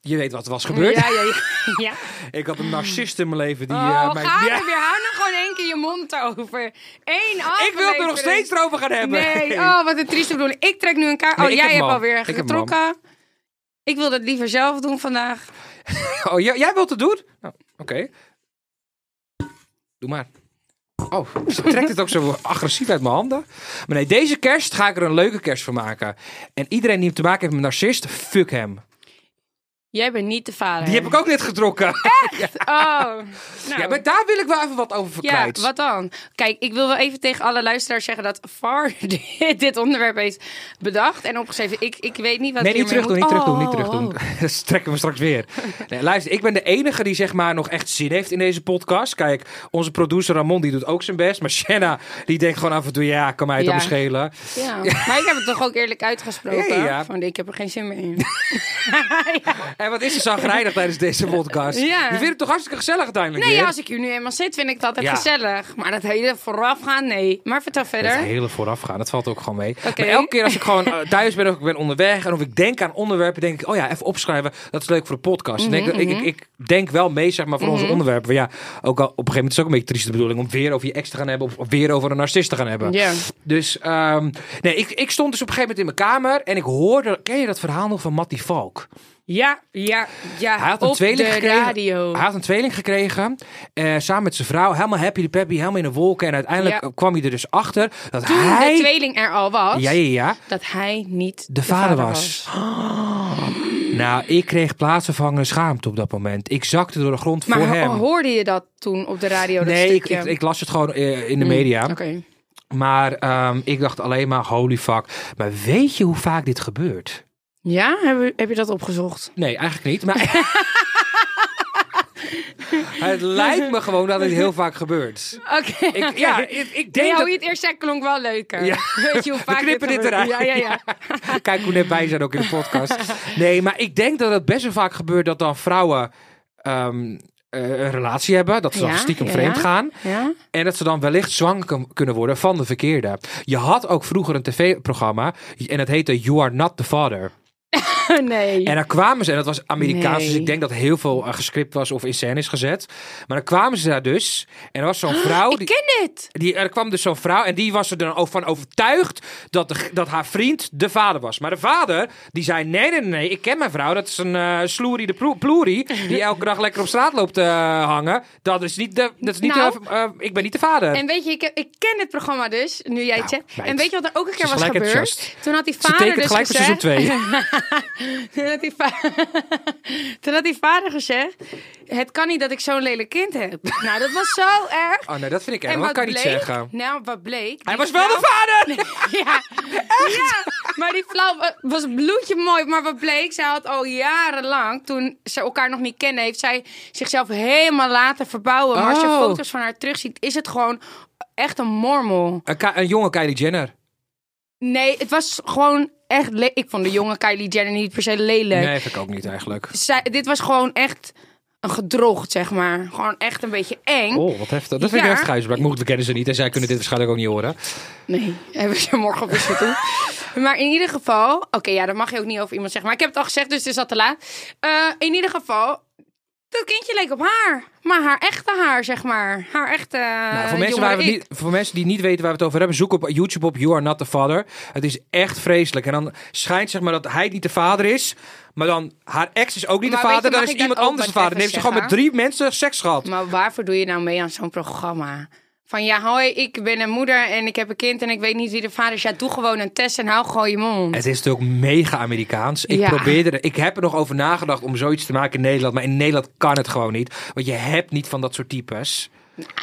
Speaker 3: Je weet wat er was gebeurd.
Speaker 2: Ja, ja, ja. ja.
Speaker 3: Ik had een narcist in mijn leven die...
Speaker 2: Oh,
Speaker 3: eh, mij-
Speaker 2: ga
Speaker 3: Ja,
Speaker 2: er weer. Hou nog gewoon één keer je mond over. Eén
Speaker 3: ik wil het er nog
Speaker 2: aflevering.
Speaker 3: steeds over gaan hebben.
Speaker 2: Nee, oh, wat een trieste bedoeling. Ik trek nu een kaart. Oh,
Speaker 3: Nee, ik
Speaker 2: jij
Speaker 3: heb hem
Speaker 2: hebt
Speaker 3: al.
Speaker 2: alweer
Speaker 3: Ik heb hem al.
Speaker 2: getrokken. Ik wil dat liever zelf doen vandaag.
Speaker 3: Oh, jij, jij wilt het doen? Nou, oké. Doe maar. Oh, ze trekt het ook zo agressief uit mijn handen. Maar nee, deze kerst ga ik er een leuke kerst van maken. En iedereen die te maken heeft met een narcist, fuck hem.
Speaker 2: Jij bent niet de vader.
Speaker 3: Die heb ik ook net getrokken.
Speaker 2: Oh, nou.
Speaker 3: Ja, maar daar wil ik wel even wat over
Speaker 2: Ja,
Speaker 3: verkwijt.
Speaker 2: wat dan? Kijk, ik wil wel even tegen alle luisteraars zeggen dat VAR dit- dit onderwerp heeft bedacht en opgeschreven. Ik, ik weet niet wat
Speaker 3: Nee, niet
Speaker 2: hiermee
Speaker 3: terug doen,
Speaker 2: moet-
Speaker 3: niet terug doen, niet
Speaker 2: Oh,
Speaker 3: terug doen.
Speaker 2: oh.
Speaker 3: Dat trekken we straks weer. Nee, luister, ik ben de enige die zeg maar nog echt zin heeft in deze podcast. Kijk, onze producer Ramon die doet ook zijn best. Maar Shanna, die denkt gewoon af en toe, ja, kan mij het
Speaker 2: Ja.
Speaker 3: ook schelen.
Speaker 2: Ja. Maar ik heb het toch ook eerlijk uitgesproken?
Speaker 3: Ja, ja.
Speaker 2: Van, ik heb er geen zin meer in.
Speaker 3: En wat is er zagrijnig tijdens deze podcast?
Speaker 2: Ja.
Speaker 3: Je vindt het toch hartstikke gezellig uiteindelijk
Speaker 2: Nee,
Speaker 3: weer?
Speaker 2: ja, als ik hier nu eenmaal zit, vind ik het altijd
Speaker 3: Ja.
Speaker 2: gezellig. Maar dat hele voorafgaan, nee. Maar vertel
Speaker 3: Het
Speaker 2: verder.
Speaker 3: hele voorafgaan, dat valt ook gewoon mee. Maar elke keer als ik gewoon eh, thuis ben of ik ben onderweg en of ik denk aan onderwerpen, denk ik, oh ja, even opschrijven, dat is leuk voor de podcast.
Speaker 2: Mhm,
Speaker 3: Ik denk, ik, ik, ik denk wel mee, zeg maar, voor onze onderwerpen. Maar ja, ook al, op een gegeven moment is het ook een beetje trieste bedoeling om weer over je ex te gaan hebben of weer over een narcist te gaan hebben.
Speaker 2: Ja.
Speaker 3: Dus, ehm, nee, ik, ik stond dus op een gegeven moment in mijn kamer en ik hoorde, ken je dat verhaal nog van Mattie Valk?
Speaker 2: Ja, ja, ja.
Speaker 3: Hij had een
Speaker 2: op de
Speaker 3: tweeling gekregen.
Speaker 2: radio.
Speaker 3: Hij had een tweeling gekregen. eh, samen met zijn vrouw. Helemaal happy de peppy. Helemaal in de wolken. En uiteindelijk
Speaker 2: Ja.
Speaker 3: kwam hij er dus achter dat
Speaker 2: Toen
Speaker 3: hij.
Speaker 2: de tweeling er al was,
Speaker 3: ja, ja, ja.
Speaker 2: dat hij niet de,
Speaker 3: De vader, was. Nou, ik kreeg plaatsvervangende schaamte op dat moment. Ik zakte door de grond
Speaker 2: Maar
Speaker 3: voor
Speaker 2: ho-
Speaker 3: hem.
Speaker 2: hoorde je dat toen op de radio? Dat
Speaker 3: nee, ik,
Speaker 2: stukje? Mm,
Speaker 3: ik, ik las het gewoon eh, in de media.
Speaker 2: Oké.
Speaker 3: Maar ehm, ik dacht alleen maar, holy fuck. Maar weet je hoe vaak dit gebeurt?
Speaker 2: Ja, heb, je- heb je dat opgezocht?
Speaker 3: Nee, eigenlijk niet. Maar het lijkt me gewoon dat het heel vaak gebeurt.
Speaker 2: Oké.
Speaker 3: Ik, ja, ik, ik
Speaker 2: Nee,
Speaker 3: denk
Speaker 2: hoe je
Speaker 3: dat...
Speaker 2: het eerst zei, klonk wel leuker.
Speaker 3: Ja.
Speaker 2: Weet je hoe vaak
Speaker 3: knippen dit
Speaker 2: gebeurt?
Speaker 3: eruit.
Speaker 2: Ja, ja, ja.
Speaker 3: Ah, Kijk hoe net wij zijn ook in de podcast. Nee, maar ik denk dat het best wel vaak gebeurt dat dan vrouwen ehm, eh, een relatie hebben. Dat ze dan
Speaker 2: Ja,
Speaker 3: stiekem
Speaker 2: ja,
Speaker 3: vreemd
Speaker 2: ja.
Speaker 3: gaan.
Speaker 2: ja?
Speaker 3: En dat ze dan wellicht zwanger kun- kunnen worden van de verkeerde. Je had ook vroeger een tv-programma en dat heette You Are Not The Father.
Speaker 2: nee.
Speaker 3: En daar kwamen ze, en dat was Amerikaans,
Speaker 2: Nee.
Speaker 3: dus ik denk dat heel veel eh, gescript was of in scène is gezet. Maar dan kwamen ze daar dus, en er was zo'n vrouw.
Speaker 2: ik
Speaker 3: die-
Speaker 2: ken dit.
Speaker 3: die, er kwam dus zo'n vrouw en die was er dan ook van overtuigd dat, de, dat haar vriend de vader was. Maar de vader, die zei, nee, nee, nee, nee, ik ken mijn vrouw. Dat is een eh sloerie de plo- ploerie die elke dag lekker op straat loopt te hangen. Dat is niet de, dat is niet
Speaker 2: Nou.
Speaker 3: de- eh, ik ben niet de vader.
Speaker 2: En weet je, ik, heb- ik ken dit programma dus, nu jij het zegt.
Speaker 3: Nou, meid.
Speaker 2: En weet je wat er ook een
Speaker 3: Ze
Speaker 2: keer
Speaker 3: is
Speaker 2: was
Speaker 3: gelijk
Speaker 2: gebeurd?
Speaker 3: enthousiast.
Speaker 2: Toen had die
Speaker 3: Ze
Speaker 2: vader
Speaker 3: tekent
Speaker 2: dus
Speaker 3: gelijk voor seizoen
Speaker 2: gezegd...
Speaker 3: 2.
Speaker 2: Toen had, die va- Toen had die vader gezegd, het kan niet dat ik zo'n lelijk kind heb. Nou, dat was zo erg.
Speaker 3: Oh nee, dat vind ik erg. Dat kan je niet zeggen.
Speaker 2: Nou, wat bleek?
Speaker 3: Hij
Speaker 2: Die
Speaker 3: was wel
Speaker 2: vrouw-
Speaker 3: de vader!
Speaker 2: ja. ja, maar die vrouw wa- was een bloedje mooi. Maar wat bleek, zij had al jarenlang, toen ze elkaar nog niet kennen, heeft zij zichzelf helemaal laten verbouwen. Maar als je
Speaker 3: Oh.
Speaker 2: foto's van haar terugziet, is het gewoon echt een mormel.
Speaker 3: Een, Ka- een jonge Kylie Jenner.
Speaker 2: Nee, het was gewoon echt... le- Ik vond de jonge Kylie Jenner niet per se lelijk.
Speaker 3: Nee, vind ik ook niet eigenlijk.
Speaker 2: Zij- dit was gewoon echt een gedrocht, zeg maar. Gewoon echt een beetje eng.
Speaker 3: Oh, wat heftig. Dat vind ik
Speaker 2: Ja.
Speaker 3: echt grijsbraak. Mocht, we kennen ze niet en zij kunnen dit waarschijnlijk ook niet horen.
Speaker 2: Nee, hebben ze morgen op eens toe. Maar in ieder geval... Oké, ja, dat mag je ook niet over iemand zeggen. Maar ik heb het al gezegd, dus het is al te laat. Eh, in ieder geval... Dat kindje leek op haar. Maar haar echte haar, zeg maar. Haar echte eh,
Speaker 3: Nou, voor, mensen waar we het niet, voor mensen die niet weten waar we het over hebben, zoek op YouTube op You Are Not The Father. Het is echt vreselijk. En dan schijnt zeg maar dat hij niet de vader is, maar dan haar ex is ook niet
Speaker 2: Maar
Speaker 3: de
Speaker 2: weet
Speaker 3: vader,
Speaker 2: je,
Speaker 3: dan
Speaker 2: mag
Speaker 3: is
Speaker 2: ik dat
Speaker 3: iemand
Speaker 2: ook
Speaker 3: anders de
Speaker 2: wat
Speaker 3: vader. Dan
Speaker 2: even
Speaker 3: heeft ze gewoon met
Speaker 2: zeggen?
Speaker 3: drie mensen seks gehad.
Speaker 2: Maar waarvoor doe je nou mee aan zo'n programma? Van ja, hoi, ik ben een moeder en ik heb een kind en ik weet niet wie de vader is. Ja, doe gewoon een test en hou gewoon je mond.
Speaker 3: Het is natuurlijk mega Amerikaans. Ik
Speaker 2: Ja.
Speaker 3: probeerde, ik heb er nog over nagedacht om zoiets te maken in Nederland, maar in Nederland kan het gewoon niet, want je hebt niet van dat soort types.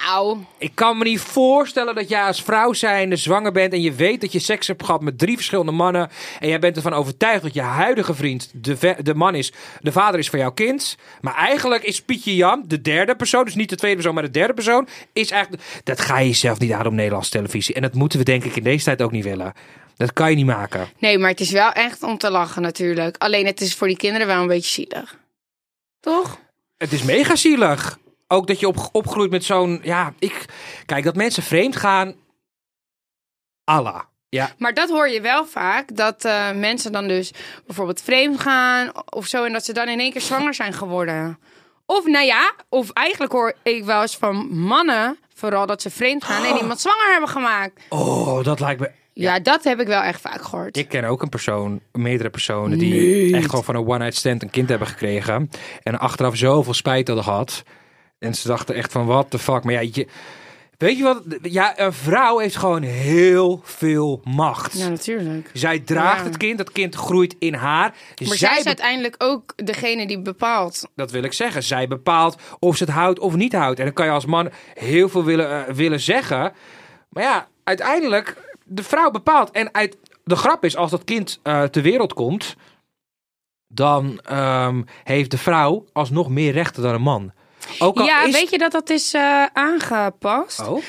Speaker 2: Auw.
Speaker 3: Ik kan me niet voorstellen dat jij als vrouw zijnde zwanger bent en je weet dat je seks hebt gehad met drie verschillende mannen. En jij bent ervan overtuigd dat je huidige vriend de, ve- de man is, de vader is van jouw kind. Maar eigenlijk is Pietje Jan, de derde persoon, dus niet de tweede persoon, maar de derde persoon, is eigenlijk... Dat ga je jezelf niet aan op Nederlandse televisie. En dat moeten we denk ik in deze tijd ook niet willen. Dat kan je niet maken.
Speaker 2: Nee, maar het is wel echt om te lachen natuurlijk. Alleen het is voor die kinderen wel een beetje zielig. Toch?
Speaker 3: Het is mega zielig. Ook dat je op, opgroeit met zo'n... Ja, ik... Kijk, dat mensen vreemd gaan... Allah. Ja,
Speaker 2: Maar dat hoor je wel vaak. Dat eh, mensen dan dus bijvoorbeeld vreemd gaan of zo. En dat ze dan in één keer zwanger zijn geworden. Of nou ja, of eigenlijk hoor ik wel eens van mannen. Vooral dat ze vreemd gaan en iemand zwanger hebben gemaakt.
Speaker 3: Oh, dat lijkt me.
Speaker 2: Ja, dat heb ik wel echt vaak gehoord.
Speaker 3: Ik ken ook een persoon, meerdere personen die echt gewoon van een one-night stand een kind hebben gekregen. En achteraf zoveel spijt hadden gehad. En ze dachten echt van, what the fuck. Maar ja, je, weet je wat? Ja, een vrouw heeft gewoon heel veel macht.
Speaker 2: Ja, natuurlijk.
Speaker 3: Zij draagt
Speaker 2: Ja.
Speaker 3: het kind, dat kind groeit in haar.
Speaker 2: Maar zij,
Speaker 3: zij
Speaker 2: is
Speaker 3: Dus be-
Speaker 2: uiteindelijk ook degene die bepaalt.
Speaker 3: dat wil ik zeggen. Zij bepaalt of ze het houdt of niet houdt. En dan kan je als man heel veel willen, eh, willen zeggen. Maar ja, uiteindelijk, de vrouw bepaalt. En uit, de grap is, als dat kind eh ter wereld komt, dan ehm, heeft de vrouw alsnog meer rechten dan een man. Ook al
Speaker 2: Ja,
Speaker 3: is...
Speaker 2: weet je dat dat is eh, aangepast?
Speaker 3: Oh,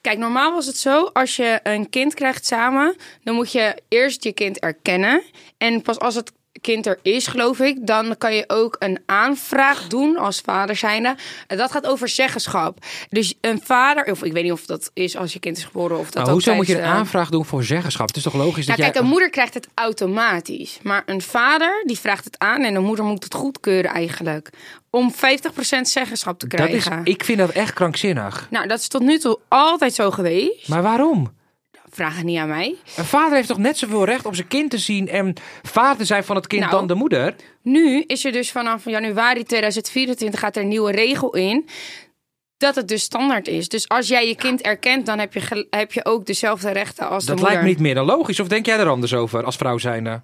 Speaker 2: Kijk, normaal was het zo, als je een kind krijgt samen, dan moet je eerst je kind erkennen. En pas als het kind er is, geloof ik, dan kan je ook een aanvraag doen als vader zijnde. En Dat gaat over zeggenschap. Dus een vader, of ik weet niet of dat is als je kind is geboren of dat
Speaker 3: maar
Speaker 2: ook
Speaker 3: Nou, hoezo moet je een
Speaker 2: tijdens, eh,
Speaker 3: aanvraag doen voor zeggenschap? Het is toch
Speaker 2: nou,
Speaker 3: logisch dat
Speaker 2: kijk,
Speaker 3: jij...
Speaker 2: een moeder krijgt het automatisch. Maar een vader, die vraagt het aan en een moeder moet het goedkeuren eigenlijk. Om 50% zeggenschap te
Speaker 3: dat is,
Speaker 2: krijgen.
Speaker 3: ik vind dat echt krankzinnig.
Speaker 2: Nou, dat is tot nu toe altijd zo geweest.
Speaker 3: Maar waarom?
Speaker 2: Vraag het niet aan mij.
Speaker 3: Een vader heeft toch net zoveel recht om zijn kind te zien en vader te zijn van het kind
Speaker 2: Nou,
Speaker 3: dan de moeder?
Speaker 2: Nu is er dus vanaf januari 2024 gaat er een nieuwe regel in. Dat het dus standaard is. Dus als jij je kind erkent, dan heb je, gel- heb je ook dezelfde rechten als
Speaker 3: Dat
Speaker 2: de moeder.
Speaker 3: lijkt me niet meer dan logisch. Of denk jij er anders over als vrouw zijnde?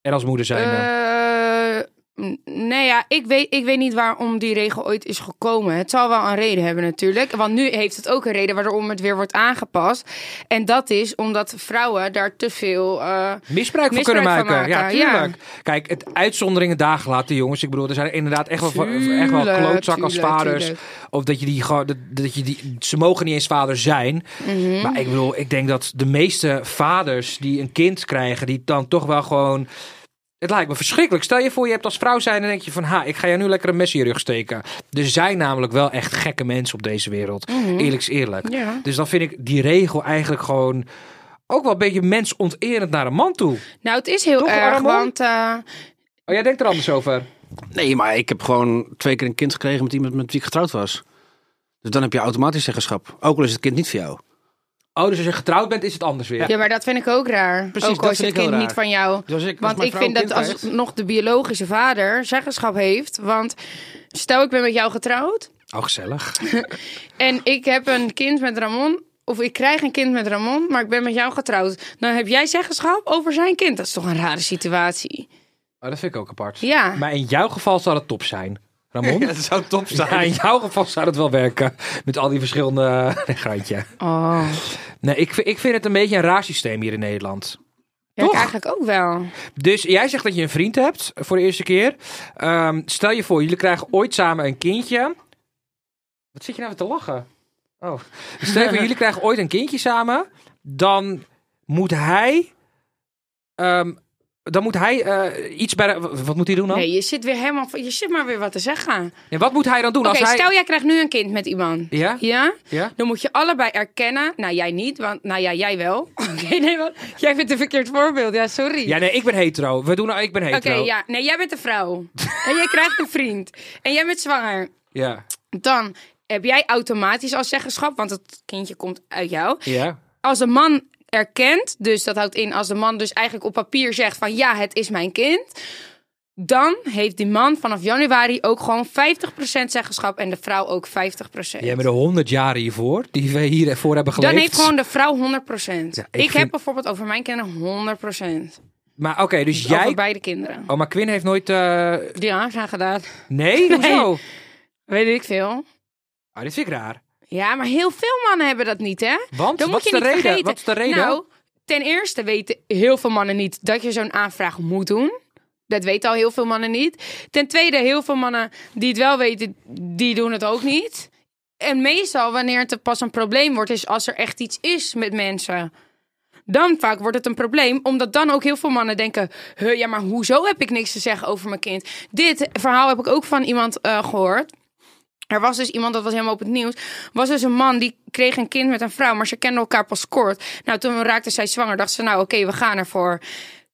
Speaker 3: En als moeder zijnde?
Speaker 2: Eh, n- nee, ja, ik weet, ik weet niet waarom die regel ooit is gekomen. Het zal wel een reden hebben natuurlijk. Want nu heeft het ook een reden waarom het weer wordt aangepast. En dat is omdat vrouwen daar te veel... eh,
Speaker 3: misbruik van
Speaker 2: misbruik
Speaker 3: kunnen maken.
Speaker 2: van
Speaker 3: Ja,
Speaker 2: maken, ja.
Speaker 3: tuurlijk. Kijk, het uitzonderingen daar gelaten, jongens. Ik bedoel, er zijn inderdaad echt wel, van-
Speaker 2: Tuurlijk,
Speaker 3: echt wel klootzak als
Speaker 2: tuurlijk,
Speaker 3: vaders.
Speaker 2: tuurlijk.
Speaker 3: Of dat je die gewoon, dat, dat je die, ze mogen niet eens vader zijn.
Speaker 2: Mhm.
Speaker 3: Maar ik bedoel, ik denk dat de meeste vaders die een kind krijgen, die dan toch wel gewoon. Het lijkt me verschrikkelijk. Stel je voor, je hebt als vrouw zijn en denk je van, ha, ik ga jou nu lekker een mes in je rug steken. Er zijn namelijk wel echt gekke mensen op deze wereld. Eerlijk is eerlijk.
Speaker 2: Mhm. Ja.
Speaker 3: Dus dan vind ik die regel eigenlijk gewoon ook wel een beetje mensonterend naar een man toe.
Speaker 2: Nou, het is heel
Speaker 3: Toch,
Speaker 2: erg,
Speaker 3: Aramon?
Speaker 2: want eh,
Speaker 3: Oh, jij denkt er anders over?
Speaker 1: Nee, maar ik heb gewoon twee keer een kind gekregen met iemand met wie ik getrouwd was. Dus dan heb je automatisch zeggenschap. Ook al is het kind niet voor jou.
Speaker 3: Oh, dus als je getrouwd bent, is het anders weer.
Speaker 2: Ja, maar dat vind ik ook raar.
Speaker 1: Precies,
Speaker 2: ook
Speaker 1: dat
Speaker 2: al is
Speaker 1: vind
Speaker 2: het
Speaker 1: ik heel
Speaker 2: kind niet
Speaker 1: raar.
Speaker 2: van jou.
Speaker 1: Dus als ik, als
Speaker 2: Want
Speaker 1: mijn
Speaker 2: ik
Speaker 1: vrouw
Speaker 2: vind
Speaker 1: een
Speaker 2: dat
Speaker 1: kind
Speaker 2: als
Speaker 1: krijgt-
Speaker 2: nog de biologische vader zeggenschap heeft. Want stel ik ben met jou getrouwd
Speaker 1: Oh, gezellig.
Speaker 2: en ik heb een kind met Ramon. Of ik krijg een kind met Ramon, maar ik ben met jou getrouwd. Dan heb jij zeggenschap over zijn kind. Dat is toch een rare situatie.
Speaker 3: Oh, dat vind ik ook apart.
Speaker 2: Ja.
Speaker 3: Maar in jouw geval zou dat top zijn. Ramon?
Speaker 1: dat zou top
Speaker 3: Ja, in jouw geval zou dat wel werken. Met al die verschillende... Nee, grantje.
Speaker 2: Oh.
Speaker 3: Nee, ik, vind- ik vind het een beetje een raar systeem hier in Nederland.
Speaker 2: Ja, ik
Speaker 3: Toch?
Speaker 2: eigenlijk ook wel.
Speaker 3: Dus jij zegt dat je een vriend hebt voor de eerste keer. Ehm, stel je voor, jullie krijgen ooit samen een kindje. Wat zit je nou weer te lachen? Oh. Stel je voor, jullie krijgen ooit een kindje samen. Dan moet hij... ehm, dan moet hij eh, iets bij... de- w- Wat moet hij doen dan?
Speaker 2: Nee, je zit weer helemaal. Je zit maar weer wat te zeggen.
Speaker 3: En wat moet hij dan doen
Speaker 2: Oké,
Speaker 3: als hij...
Speaker 2: stel jij krijgt nu een kind met iemand.
Speaker 3: Ja?
Speaker 2: Ja?
Speaker 3: Ja?
Speaker 2: Dan moet je allebei erkennen. Nou, jij niet, want. Nou ja, jij wel. Oké, nee, want jij bent een verkeerd voorbeeld. Ja, sorry.
Speaker 3: Ja, nee, ik ben hetero. We doen, ik ben
Speaker 2: Oké,
Speaker 3: hetero.
Speaker 2: ja. Nee, jij bent een vrouw. en jij krijgt een vriend. En jij bent zwanger.
Speaker 3: ja.
Speaker 2: Dan heb jij automatisch al zeggenschap, want het kindje komt uit jou.
Speaker 3: Ja.
Speaker 2: Als een man erkent, dus dat houdt in als de man dus eigenlijk op papier zegt van ja, het is mijn kind. Dan heeft die man vanaf januari ook gewoon 50% zeggenschap en de vrouw ook 50%.
Speaker 3: Jij bent de 100 jaren hiervoor, die we hiervoor hebben geleefd.
Speaker 2: Dan heeft gewoon de vrouw 100%. ik
Speaker 3: ik vind-
Speaker 2: heb bijvoorbeeld over mijn kinderen 100%.
Speaker 3: Maar oké, dus
Speaker 2: Over
Speaker 3: jij...
Speaker 2: beide kinderen.
Speaker 3: Oh, maar Quinn heeft nooit... eh,
Speaker 2: Die aan zijn gedaan.
Speaker 3: Nee? Hoezo?
Speaker 2: Weet ik veel.
Speaker 3: Ah, dit vind ik raar.
Speaker 2: Ja, maar heel veel mannen hebben dat niet, hè?
Speaker 3: Want?
Speaker 2: Dan
Speaker 3: Wat
Speaker 2: moet je
Speaker 3: is de
Speaker 2: niet
Speaker 3: reden?
Speaker 2: vergeten.
Speaker 3: Wat is de reden?
Speaker 2: Nou, ten eerste weten heel veel mannen niet dat je zo'n aanvraag moet doen. Dat weten al heel veel mannen niet. Ten tweede, heel veel mannen die het wel weten, die doen het ook niet. En meestal, wanneer het pas een probleem wordt, is als er echt iets is met mensen. Dan vaak wordt het een probleem, omdat dan ook heel veel mannen denken: "Huh, ja, maar hoezo heb ik niks te zeggen over mijn kind? Dit verhaal heb ik ook van iemand eh, gehoord. Er was dus iemand, dat was helemaal op het nieuws. Was dus een man die kreeg een kind met een vrouw, maar ze kenden elkaar pas kort. Nou, toen raakte zij zwanger, dacht ze: Nou, oké, we gaan ervoor.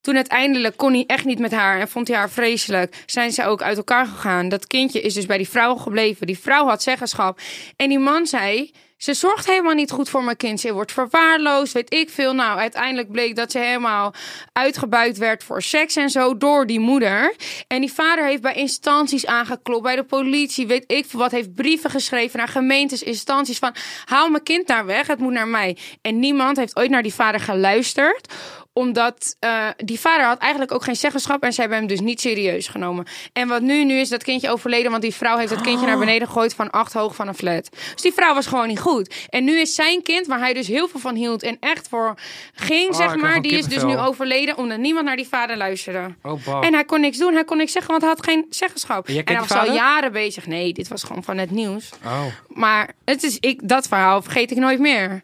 Speaker 2: Toen uiteindelijk kon hij echt niet met haar en vond hij haar vreselijk. Zijn ze ook uit elkaar gegaan. Dat kindje is dus bij die vrouw gebleven. Die vrouw had zeggenschap. En die man zei: Ze zorgt helemaal niet goed voor mijn kind. Ze wordt verwaarloosd, weet ik veel. Nou, uiteindelijk bleek dat ze helemaal uitgebuit werd voor seks en zo door die moeder. En die vader heeft bij instanties aangeklopt, bij de politie, weet ik veel wat, heeft brieven geschreven naar gemeentes, instanties van haal mijn kind daar weg, het moet naar mij. En niemand heeft ooit naar die vader geluisterd, omdat eh, die vader had eigenlijk ook geen zeggenschap en ze hebben hem dus niet serieus genomen. En wat nu, nu is dat kindje overleden, want die vrouw heeft dat kindje
Speaker 3: Oh.
Speaker 2: naar beneden gegooid van acht hoog van een flat. Dus die vrouw was gewoon niet goed. En nu is zijn kind, waar hij dus heel veel van hield en echt voor ging,
Speaker 3: Oh, ik
Speaker 2: zeg
Speaker 3: krijg
Speaker 2: maar,
Speaker 3: gewoon
Speaker 2: die is dus nu
Speaker 3: kippenvel.
Speaker 2: overleden omdat niemand naar die vader luisterde.
Speaker 3: Oh, bah.
Speaker 2: En hij kon niks doen, hij kon niks zeggen, want hij had geen zeggenschap.
Speaker 3: En jij kent
Speaker 2: en hij
Speaker 3: die
Speaker 2: was al
Speaker 3: vader?
Speaker 2: jaren bezig. Nee, dit was gewoon van het nieuws.
Speaker 3: Oh.
Speaker 2: Maar het is, ik, dat verhaal vergeet ik nooit meer.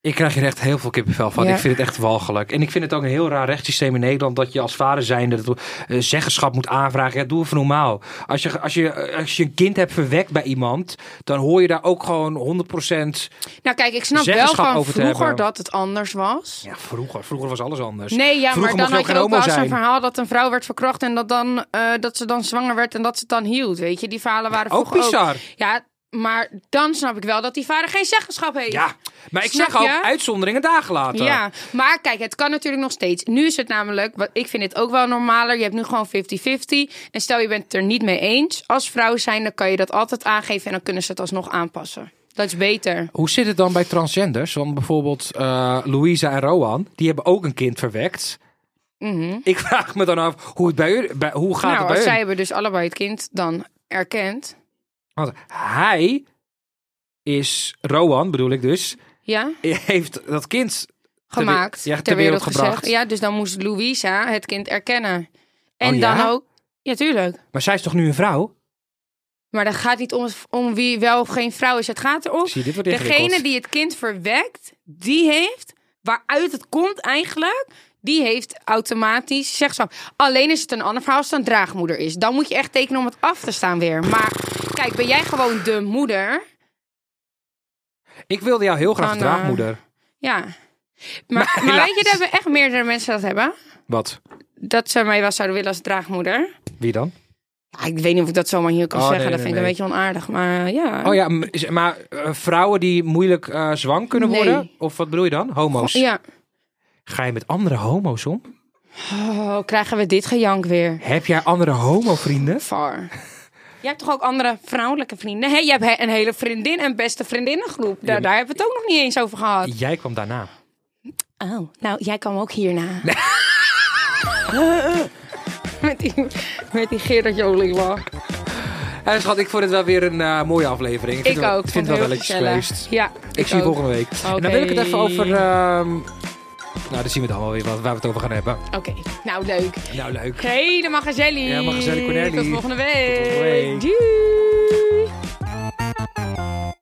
Speaker 3: Ik krijg hier echt heel veel kippenvel van.
Speaker 2: Ja.
Speaker 3: Ik vind het echt walgelijk. En ik vind het ook een heel raar rechtssysteem in Nederland... dat je als vader zijnde dat, eh, zeggenschap moet aanvragen. Ja, doe even normaal. Als je, als, je, eh, als je een kind hebt verwekt bij iemand... dan hoor je daar ook gewoon 100%...
Speaker 2: Nou kijk, ik snap wel
Speaker 3: Zeggenschap
Speaker 2: van
Speaker 3: over te
Speaker 2: vroeger
Speaker 3: hebben.
Speaker 2: dat het anders was.
Speaker 3: Ja, vroeger. Vroeger was alles anders.
Speaker 2: Nee, ja, maar
Speaker 3: Vroeger mocht
Speaker 2: dan had je
Speaker 3: ook geen
Speaker 2: ook
Speaker 3: homo
Speaker 2: wel zo'n
Speaker 3: zijn.
Speaker 2: verhaal dat een vrouw werd verkracht en dat, dan, eh, dat ze dan zwanger werd en dat ze het dan hield. Weet je, die verhalen waren
Speaker 3: ook
Speaker 2: vroeger
Speaker 3: bizar.
Speaker 2: Ja, maar dan snap ik wel dat die vader geen zeggenschap heeft.
Speaker 3: Ja, maar ik
Speaker 2: Snap
Speaker 3: zeg ook
Speaker 2: je?
Speaker 3: uitzonderingen dagen later.
Speaker 2: Ja, maar kijk, het kan natuurlijk nog steeds. Nu is het namelijk, wat- ik vind dit ook wel normaler. Je hebt nu gewoon 50-50. En stel je bent het er niet mee eens. Als vrouw zijn, dan kan je dat altijd aangeven. En dan kunnen ze het alsnog aanpassen. Dat is beter.
Speaker 3: Hoe zit het dan bij transgenders? Want bijvoorbeeld eh Louisa en Rowan, die hebben ook een kind verwekt. Ik vraag me dan af hoe, het bij u, bij, hoe gaat
Speaker 2: Mhm. nou,
Speaker 3: het
Speaker 2: als
Speaker 3: bij
Speaker 2: zij
Speaker 3: hun?
Speaker 2: hebben dus allebei het kind dan erkend.
Speaker 3: Want hij is, Rowan bedoel ik dus,
Speaker 2: Ja,
Speaker 3: heeft dat kind... wer-
Speaker 2: gemaakt.
Speaker 3: ja, ter wereld gebracht.
Speaker 2: Ja, dus dan moest Louisa het kind erkennen. En
Speaker 3: Oh, ja?
Speaker 2: dan ook. Ja, tuurlijk.
Speaker 3: Maar zij is toch nu een vrouw?
Speaker 2: Maar dat gaat niet om, om wie wel of geen vrouw is. Het gaat erom.
Speaker 3: Zie je, dit wordt
Speaker 2: Degene
Speaker 3: ingewikkeld.
Speaker 2: die het kind verwekt, die heeft, waaruit het komt eigenlijk, die heeft automatisch zeggenschap. Alleen is het een ander verhaal als het een draagmoeder is. Dan moet je echt tekenen om het af te staan weer. Maar kijk, ben jij gewoon de moeder?
Speaker 3: Ik wilde jou heel graag
Speaker 2: Van, eh,
Speaker 3: draagmoeder.
Speaker 2: Ja. Maar, maar
Speaker 3: helaas.
Speaker 2: weet je, er hebben echt meerdere mensen dat hebben.
Speaker 3: Wat?
Speaker 2: dat ze mij wel zouden willen als draagmoeder.
Speaker 3: Wie dan?
Speaker 2: Ja, ik weet niet of ik dat zomaar hier kan
Speaker 3: Oh, nee,
Speaker 2: zeggen. dat
Speaker 3: nee,
Speaker 2: vind
Speaker 3: nee.
Speaker 2: ik een beetje onaardig. Maar eh, ja.
Speaker 3: Oh ja, m- is- maar eh, vrouwen die moeilijk eh, zwang kunnen
Speaker 2: Nee.
Speaker 3: worden? Of wat bedoel je dan? Homo's.
Speaker 2: Ja.
Speaker 3: Ga je met andere homo's om?
Speaker 2: Oh, krijgen we dit gejank weer?
Speaker 3: Heb jij andere homo-vrienden?
Speaker 2: Far. Jij hebt toch ook andere vrouwelijke vrienden? Hè, je hebt he- een hele vriendin en beste vriendinnengroep. Daar, daar hebben we het ook nog niet eens over gehad.
Speaker 3: Jij kwam daarna.
Speaker 2: Oh, nou, jij kwam ook hierna. met, die, met die Gerard Joling lach.
Speaker 3: Eh, schat, ik vond het wel weer een eh, mooie aflevering.
Speaker 2: Ik
Speaker 3: vind
Speaker 2: ook.
Speaker 3: Ik vind
Speaker 2: vond
Speaker 3: het wel
Speaker 2: het
Speaker 3: wel
Speaker 2: heel gezellig.
Speaker 3: iets geweest.
Speaker 2: Ja,
Speaker 3: Ik, zie je
Speaker 2: ook.
Speaker 3: volgende week. En dan wil ik het even
Speaker 2: Oké.
Speaker 3: over... ehm, nou, dan zien we dan wel weer wat, waar we het over gaan hebben.
Speaker 2: Oké, nou leuk.
Speaker 3: Nou, leuk.
Speaker 2: Helemaal gezellig.
Speaker 3: Helemaal gezellig, Cornelie.
Speaker 2: Tot volgende
Speaker 3: volgende
Speaker 2: week.
Speaker 3: week.
Speaker 2: Doei.